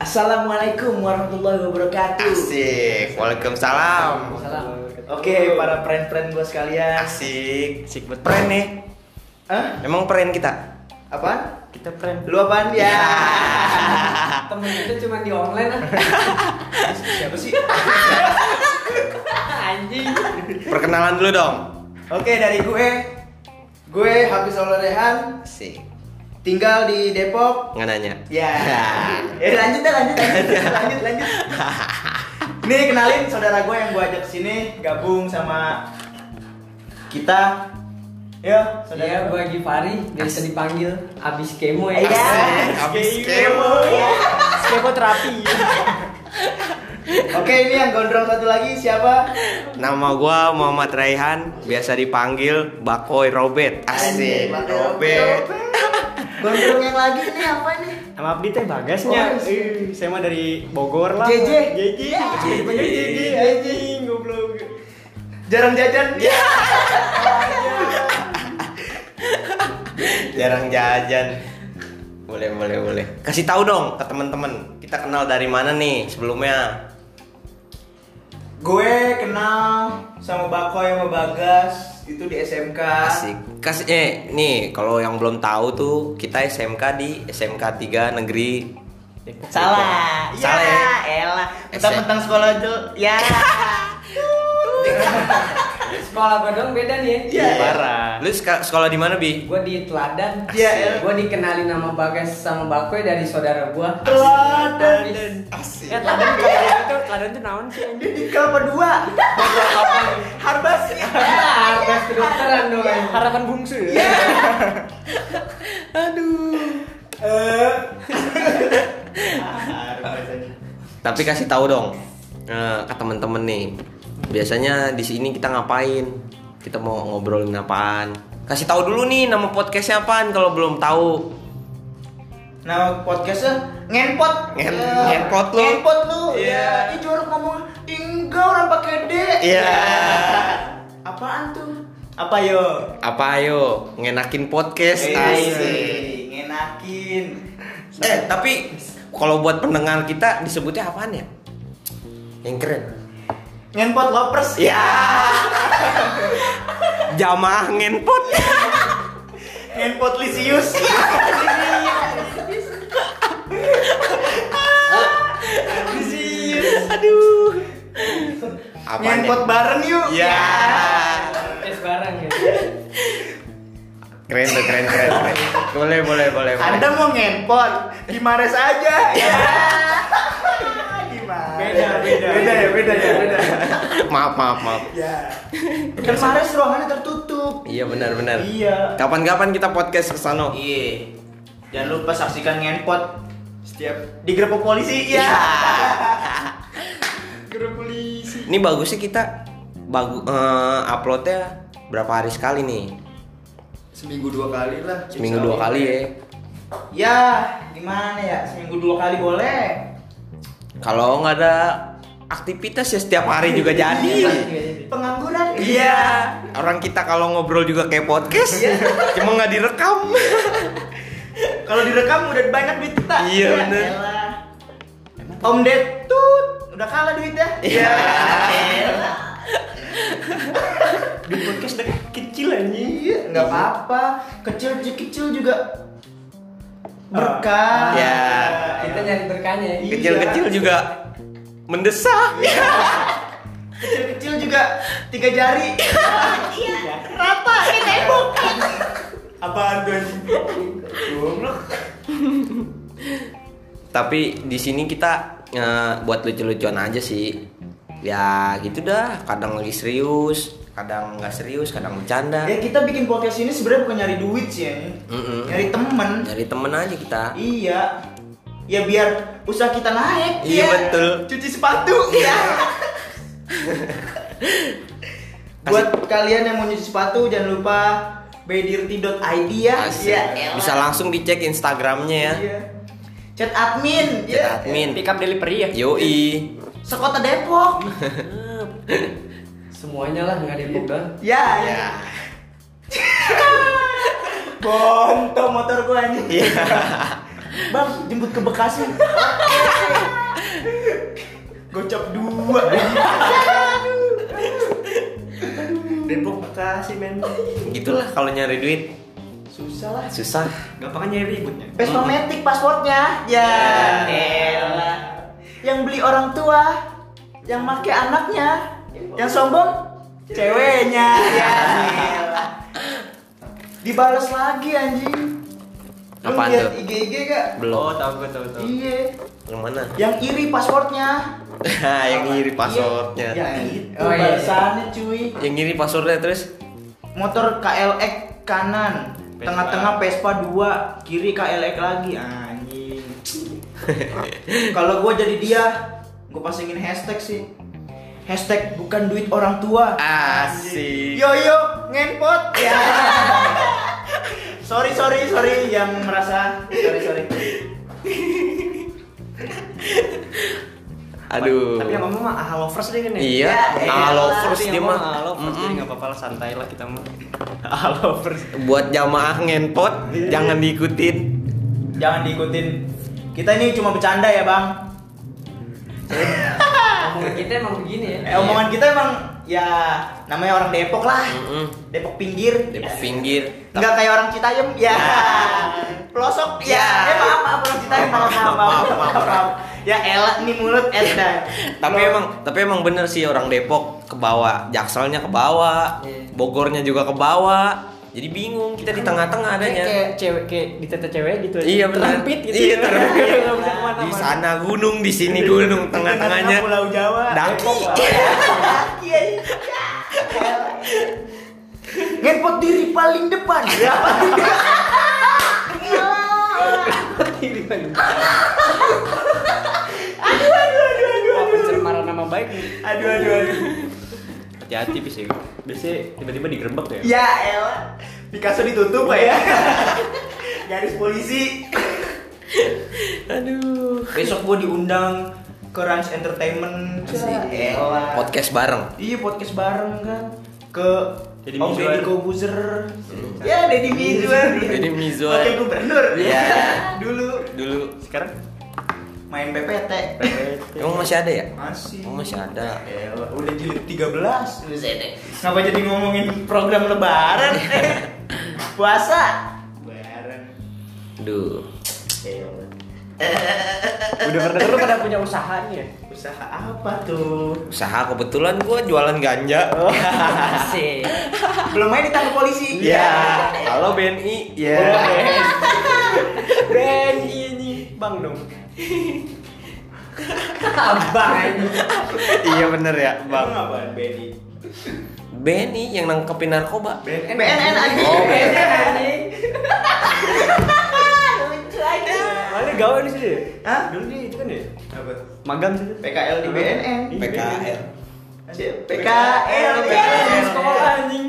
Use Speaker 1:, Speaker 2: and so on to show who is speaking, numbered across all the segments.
Speaker 1: Assalamualaikum warahmatullahi wabarakatuh.
Speaker 2: Asik, waalaikumsalam.
Speaker 1: Salam. Oke, para friend-friend gua sekalian.
Speaker 2: Asik, asik buat pren nih.
Speaker 1: Hah?
Speaker 2: Emang pren kita?
Speaker 1: Apaan?
Speaker 2: Kita pren.
Speaker 1: Lu apaan ya?
Speaker 3: temen kita cuma di online ah
Speaker 1: Siapa sih?
Speaker 3: anjing
Speaker 2: Perkenalan dulu dong.
Speaker 1: Oke, dari gue. Gue Hafiz Rehan,
Speaker 2: Asik.
Speaker 1: tinggal di Depok.
Speaker 2: Nggak nanya.
Speaker 1: Ya. Eh lanjut deh, lanjut lanjut lanjut lanjut. Ini kenalin saudara gue yang gue ajak sini gabung sama kita. Yo,
Speaker 3: Iya,
Speaker 1: saudara
Speaker 3: gue Givari, biasa dipanggil abis kemo ya.
Speaker 1: Iya.
Speaker 2: Asik, Habis kemo.
Speaker 1: Skemo terapi. Oke, ini yang gondrong satu lagi siapa?
Speaker 2: Nama gua Muhammad Raihan, biasa dipanggil Bakoy Robet. Asik,
Speaker 1: Pakai
Speaker 2: Robet.
Speaker 1: Gondrong yang lagi ini apa nih?
Speaker 4: Sama Abdi teh bagasnya.
Speaker 1: Oh,
Speaker 4: Ih, saya mah dari Bogor lah.
Speaker 1: JJ. Iya.
Speaker 4: JJ.
Speaker 1: JJ.
Speaker 4: JJ. Anjing, goblok.
Speaker 1: Jarang jajan.
Speaker 2: Jarang jajan. Boleh, boleh, boleh. Kasih tahu dong ke teman-teman. Kita kenal dari mana nih sebelumnya?
Speaker 1: Gue kenal sama Bakoy sama Bagas itu di SMK.
Speaker 2: Asik. Kasih eh nih kalau yang belum tahu tuh kita SMK di SMK 3 Negeri
Speaker 1: Salah.
Speaker 2: Salah
Speaker 1: ya.
Speaker 2: ya?
Speaker 1: Elah, mentang-mentang sekolah itu ya.
Speaker 3: Sekolah gue dong beda nih
Speaker 1: Iya.
Speaker 3: ya.
Speaker 4: Parah.
Speaker 2: Lu seka- sekolah di mana, Bi?
Speaker 3: Gue di Teladan.
Speaker 1: Iya, iya.
Speaker 3: Gue dikenalin nama Bagas sama Bakoy dari saudara gue.
Speaker 1: Teladan.
Speaker 2: Asik.
Speaker 4: Ya teladan kayak itu, teladan tuh naon sih anjing?
Speaker 1: Di kelapa dua. Eh, Harbas
Speaker 2: Iya,
Speaker 1: Iya. ya.
Speaker 3: Bagas Iya, kedokteran dong. Iya.
Speaker 4: Harapan bungsu ya.
Speaker 2: Tapi kasih tahu dong eh, ke temen-temen nih. Biasanya di sini kita ngapain? Kita mau ngobrolin apaan? Kasih tahu dulu nih nama podcastnya apaan kalau belum tahu.
Speaker 1: Nah, podcastnya ngenpot.
Speaker 2: Ngen-
Speaker 1: Ya.
Speaker 2: ngenpot lu.
Speaker 1: Ngenpot lu.
Speaker 2: Iya.
Speaker 1: Ih, jorok ngomong enggak orang pakai D.
Speaker 2: Iya.
Speaker 1: Apaan tuh? Apa yo?
Speaker 2: Apa ayo ngenakin podcast? Asik.
Speaker 1: Asik. Ngenakin.
Speaker 2: Eh, tapi kalau buat pendengar kita disebutnya apaan ya? Yang keren.
Speaker 1: Ngenpot lovers.
Speaker 2: Ya. Jamaah ngenpot.
Speaker 1: Ngenpot Lisius. Lisius.
Speaker 2: Aduh. Apaan
Speaker 1: Ngenpot
Speaker 2: ya?
Speaker 1: bareng yuk.
Speaker 2: Ya.
Speaker 3: Tes barang ya.
Speaker 2: Keren tuh, keren, keren, keren. Boleh, boleh, boleh. boleh.
Speaker 1: Anda Ya. mau ngenpot di Mares aja. Ya. Di Mares.
Speaker 3: Beda, beda.
Speaker 1: Beda ya, beda ya, beda.
Speaker 2: maaf, maaf, maaf.
Speaker 1: Ya. Kan Mares ruangannya tertutup.
Speaker 2: Iya benar, benar.
Speaker 1: Iya.
Speaker 2: Kapan-kapan kita podcast ke sana.
Speaker 1: Iya. Jangan lupa saksikan ngenpot setiap di gerpok polisi. Ya. Gerpok polisi.
Speaker 2: Ini bagusnya kita bagu eh, uploadnya berapa hari sekali nih?
Speaker 1: Seminggu dua kali lah.
Speaker 2: Seminggu dua kali ya.
Speaker 1: Ya, gimana ya? Seminggu dua kali boleh.
Speaker 2: Kalau nggak ada aktivitas ya setiap hari juga jadi.
Speaker 1: Pengangguran.
Speaker 2: Iya. Orang kita kalau ngobrol juga kayak podcast, cuma nggak direkam.
Speaker 1: Kalau direkam udah banyak duit kita. Ya,
Speaker 2: Iya, bener.
Speaker 1: elah. Om Ded tut udah kalah ya? duitnya.
Speaker 2: Iya.
Speaker 1: elah.
Speaker 4: Di podcast deh kecil anjing.
Speaker 1: Iya, nggak apa-apa. Kecil kecil juga
Speaker 2: Oh.
Speaker 1: berkah.
Speaker 2: Ya.
Speaker 3: Kita nyari berkahnya ya.
Speaker 2: Kecil-kecil juga mendesak.
Speaker 1: kecil-kecil juga tiga jari. Iya. Rata ini tembok. Apaan tuh? Goblok.
Speaker 2: Tapi di sini kita eh, buat lucu-lucuan aja sih. Ya gitu dah. Kadang lagi serius, kadang nggak serius, kadang bercanda.
Speaker 1: Ya kita bikin podcast ini sebenarnya bukan nyari duit sih ya.
Speaker 2: Mm-mm.
Speaker 1: Nyari temen.
Speaker 2: Nyari temen aja kita.
Speaker 1: Iya. Ya biar usaha kita naik.
Speaker 2: Iya,
Speaker 1: ya.
Speaker 2: betul.
Speaker 1: Cuci sepatu. Iya. Buat kalian yang mau nyuci sepatu jangan lupa bedirti.id ya.
Speaker 2: Asik.
Speaker 1: elah.
Speaker 2: Bisa langsung dicek Instagramnya ya.
Speaker 1: Iya. Chat admin.
Speaker 2: Chat
Speaker 1: ya.
Speaker 2: admin.
Speaker 4: Pick up delivery ya.
Speaker 2: Yoi.
Speaker 1: Sekota Depok.
Speaker 3: Semuanya lah nggak ada yang doang.
Speaker 1: ya. ya.
Speaker 2: Ya.
Speaker 1: Bonto motor gua ini.
Speaker 2: Iya.
Speaker 1: Bang, jemput ke Bekasi. Oke. Gocap dua. Depok Bekasi men.
Speaker 2: Gitulah kalau nyari duit
Speaker 1: Susah lah.
Speaker 2: susah.
Speaker 4: Gampang nyari ributnya.
Speaker 1: Vespa Matic pasportnya. Ya, elah. Yang beli orang tua, yang make anaknya, yang sombong ceweknya. Ya, elah. Dibales lagi anjing. Lu
Speaker 2: Apaan
Speaker 1: lihat
Speaker 2: tuh?
Speaker 1: IG-IG
Speaker 4: Oh,
Speaker 1: gak?
Speaker 2: Belum.
Speaker 4: tahu gue tahu tahu.
Speaker 1: Iya.
Speaker 2: Yang mana?
Speaker 1: Yang iri passwordnya.
Speaker 2: Ah, yang ngiri
Speaker 1: Iya,
Speaker 2: passwordnya.
Speaker 1: yang itu
Speaker 3: Oh, iya.
Speaker 1: balasannya cuy.
Speaker 2: Yang ngiri passwordnya terus
Speaker 1: Motor KLX kanan,
Speaker 4: Vespa.
Speaker 1: tengah-tengah Vespa 2, kiri KLX lagi. Anjing. Kalau gua jadi dia, gua pasangin hashtag sih. Hashtag bukan duit orang tua.
Speaker 2: Asik.
Speaker 1: Yoyo ngenpot. Ya. sorry sorry sorry yang merasa sorry sorry.
Speaker 2: Aduh.
Speaker 4: Tapi yang ngomong mah ah lovers deh kan ya.
Speaker 2: Iya,
Speaker 1: Ya,
Speaker 2: ah,
Speaker 1: iyalah,
Speaker 2: lovers
Speaker 4: Tapi yang
Speaker 2: dia
Speaker 4: ngomong
Speaker 2: mah.
Speaker 4: ah lovers jadi
Speaker 2: Mm-mm.
Speaker 4: enggak apa-apa lah santai lah kita mah. Ah lovers.
Speaker 2: Buat jamaah ngenpot
Speaker 4: Iya.
Speaker 2: jangan diikutin.
Speaker 1: Jangan diikutin. Kita ini cuma bercanda ya, Bang.
Speaker 3: Omongan kita emang begini ya.
Speaker 1: Ah.
Speaker 2: Iya.
Speaker 1: Eh, omongan kita emang ya namanya orang Depok lah.
Speaker 2: Mm-mm.
Speaker 1: Depok pinggir.
Speaker 4: Iya.
Speaker 2: Depok pinggir.
Speaker 1: Enggak kayak orang Citayam. Ya. Pelosok ya.
Speaker 2: Ya.
Speaker 1: Eh maaf maaf orang Citayam maaf maaf maaf. maaf, maaf. Ya elah nih mulut Eda.
Speaker 2: Iya. Tapi emang tapi emang bener sih orang Depok ke bawah, Jakselnya ke bawah,
Speaker 3: Iya.
Speaker 2: Bogornya juga ke bawah. Jadi bingung kita di tengah-tengah adanya.
Speaker 4: Kayak cewek kayak ditata cewek gitu aja.
Speaker 2: Iya, benar.
Speaker 4: Terhimpit gitu.
Speaker 2: Iya,
Speaker 4: ya.
Speaker 2: terhimpit.
Speaker 4: Nggak bisa kemana
Speaker 2: Di sana gunung, di sini gunung, tengah-tengahnya
Speaker 1: Pulau Jawa.
Speaker 2: daki. Iya.
Speaker 1: Daki ya. Ngepot diri paling depan. Ya.
Speaker 4: Wah, pencemaran nama baik nih.
Speaker 1: Aduh aduh aduh.
Speaker 4: Hati-hati bisa. Biasanya tiba-tiba digerebek ya.
Speaker 1: Ya elah. Picasso ditutup Pak, ya. Garis polisi.
Speaker 2: Aduh.
Speaker 1: Besok gue diundang ke Rans Entertainment
Speaker 3: Asik.
Speaker 1: Ya elah.
Speaker 2: Podcast bareng.
Speaker 1: Iya podcast bareng kan ke
Speaker 4: Deddy
Speaker 1: Om
Speaker 4: Mizwar.
Speaker 1: Deddy Kobuzer. Ya Deddy Mizwar.
Speaker 2: Deddy Mizwar.
Speaker 1: Wakil gubernur.
Speaker 2: Iya.
Speaker 1: Dulu
Speaker 2: Dulu
Speaker 4: Sekarang
Speaker 1: main PPT.
Speaker 2: emang masih ada ya?
Speaker 1: Masih.
Speaker 2: Emang masih ada.
Speaker 1: Ya, udah jilid 13 Zedek. Ngapa jadi ngomongin program lebaran? eh? Puasa. Lebaran.
Speaker 2: Aduh.
Speaker 1: Ya,
Speaker 4: udah pernah lu pada punya usaha nih ya?
Speaker 1: Usaha apa tuh?
Speaker 2: Usaha kebetulan gua jualan ganja.
Speaker 4: Oh,
Speaker 3: Asik.
Speaker 1: Belum main ditangkap polisi.
Speaker 2: Iya. Halo BNI. Iya.
Speaker 4: Brand ini bang dong.
Speaker 3: Abang ini.
Speaker 2: iya bener ya,
Speaker 1: Bang
Speaker 2: Bang.
Speaker 1: ngapain Benny?
Speaker 2: BNI yang nangkepin narkoba.
Speaker 1: BNN
Speaker 3: BNN aja.
Speaker 2: Oh,
Speaker 3: BNN anjing.
Speaker 1: Lucu aja.
Speaker 4: Mana gawe di sini? ya?
Speaker 1: Hah?
Speaker 4: Dulu nih itu kan ya?
Speaker 1: Apa?
Speaker 4: Magang sih.
Speaker 1: PKL di BNN.
Speaker 2: PKL.
Speaker 1: PKL.
Speaker 4: PKL,
Speaker 1: PKL.
Speaker 4: sekolah anjing.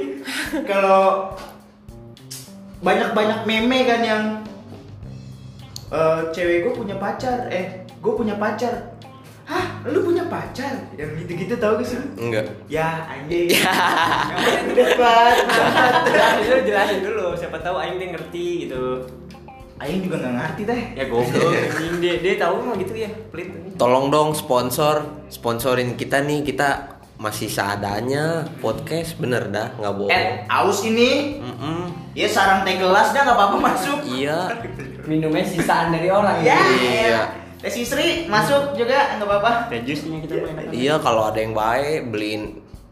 Speaker 1: Kalau banyak-banyak meme kan yang eh, cewek gue punya pacar, eh gue punya pacar. Hah, lu punya pacar? Yang gitu-gitu tau gak sih? lu?
Speaker 2: Enggak.
Speaker 1: Ya anjing. Yang mana itu depan.
Speaker 4: Jelasin jelasin dulu, siapa tahu aing dia ngerti gitu.
Speaker 1: Aing juga nggak ngerti teh.
Speaker 4: Ya goblok anjing dia dia tahu mah gitu ya, pelit.
Speaker 2: Tolong dong sponsor, sponsorin kita nih. Kita masih seadanya podcast bener dah, nggak bohong.
Speaker 1: Eh, aus ini,
Speaker 2: Mm-mm.
Speaker 1: ya sarang teh gelas dah nggak apa-apa masuk.
Speaker 2: Iya.
Speaker 3: Minumnya sisaan dari orang
Speaker 1: Ya,
Speaker 2: Iya.
Speaker 1: Teh Sisri masuk juga nggak apa-apa.
Speaker 4: Ada jusnya kita main apa?
Speaker 2: Iya kalau ada yang baik beliin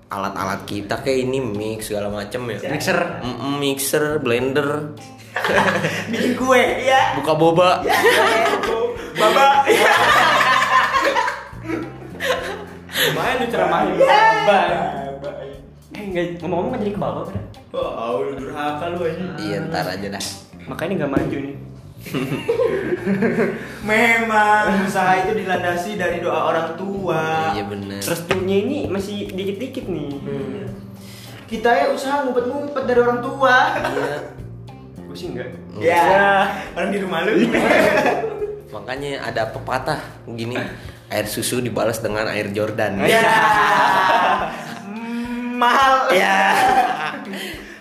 Speaker 2: alat-alat kita kayak ini mix segala macem ya.
Speaker 4: Mixer.
Speaker 2: Mm-mm, mixer, blender,
Speaker 1: Bikin kue, ya.
Speaker 2: buka boba.
Speaker 1: Baba.
Speaker 4: Lumayan tuh ceramahin. Bang. Eh enggak ngomong-ngomong nggak jadi ke bawah kan?
Speaker 1: Oh, lu durhaka lu aja.
Speaker 2: Iya ntar aja dah.
Speaker 4: Makanya nggak maju nih.
Speaker 1: Memang usaha itu dilandasi dari doa orang tua.
Speaker 2: Iya bener.
Speaker 4: Terus timnya ini masih dikit-dikit nih.
Speaker 1: Kita ya usaha ngumpet-ngumpet dari orang tua.
Speaker 2: Iya.
Speaker 4: Gue sih enggak.
Speaker 1: Ya. Orang di rumah lu.
Speaker 2: Iya. Makanya ada pepatah gini. Air susu dibalas dengan air Jordan.
Speaker 1: ya. Mm, Mahal.
Speaker 2: Ya.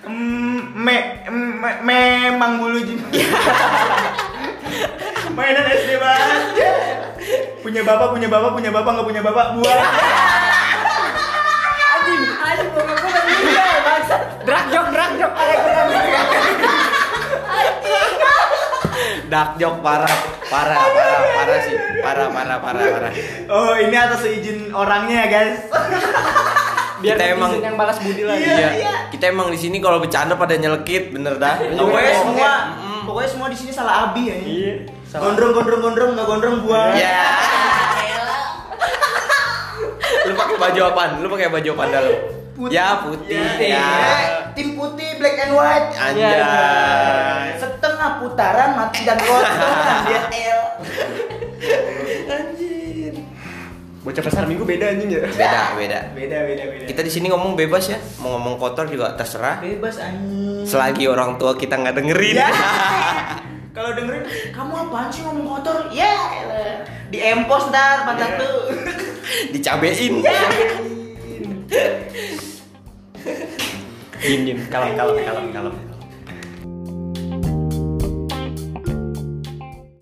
Speaker 1: Mm, Me, me-
Speaker 2: Iya.
Speaker 1: memang bulu juga. Mainan SD banget. punya bapak punya bapak punya bapak nggak punya bapak buah
Speaker 3: Anjing, anjing bapak gue udah meninggal, bangsat.
Speaker 2: Drag jok, drag jok. Dark jok parah, parah, parah, parah sih, parah, parah, parah, parah.
Speaker 1: oh ini atas izin orangnya ya guys
Speaker 4: Biar
Speaker 2: Kita emang-
Speaker 4: netizen yang balas budi lagi.
Speaker 1: Iya, iya.
Speaker 2: Kita emang di sini kalau bercanda pada nyelekit, bener dah.
Speaker 1: pokoknya
Speaker 2: Oke.
Speaker 1: semua
Speaker 2: Iya. Mm-mm.
Speaker 1: pokoknya semua di sini salah abi ya
Speaker 4: Iya.
Speaker 1: gondrong gondrong gondrong nggak gondrong buah
Speaker 2: Ya. Lu pakai baju apaan? Lu pakai baju apa dah lu?
Speaker 1: Putih.
Speaker 2: Ya putih.
Speaker 1: Ya.
Speaker 2: Ya.
Speaker 1: tim putih black and white
Speaker 2: Anjay.
Speaker 1: setengah putaran mati dan kotoran dia el
Speaker 2: Anjir.
Speaker 4: Bocah pasar minggu beda anjing ya.
Speaker 2: Beda, beda.
Speaker 1: beda beda beda
Speaker 2: Kita di sini ngomong bebas ya, mau ngomong kotor juga terserah.
Speaker 1: bebas anjing
Speaker 2: Selagi orang tua kita nggak dengerin.
Speaker 1: Ya. Kalau dengerin, kamu apaan sih ngomong kotor? Ya, elah. di empos ntar pantat tuh.
Speaker 2: dicabein
Speaker 4: Ya. Diem diem. Kalem kalem kalem kalem.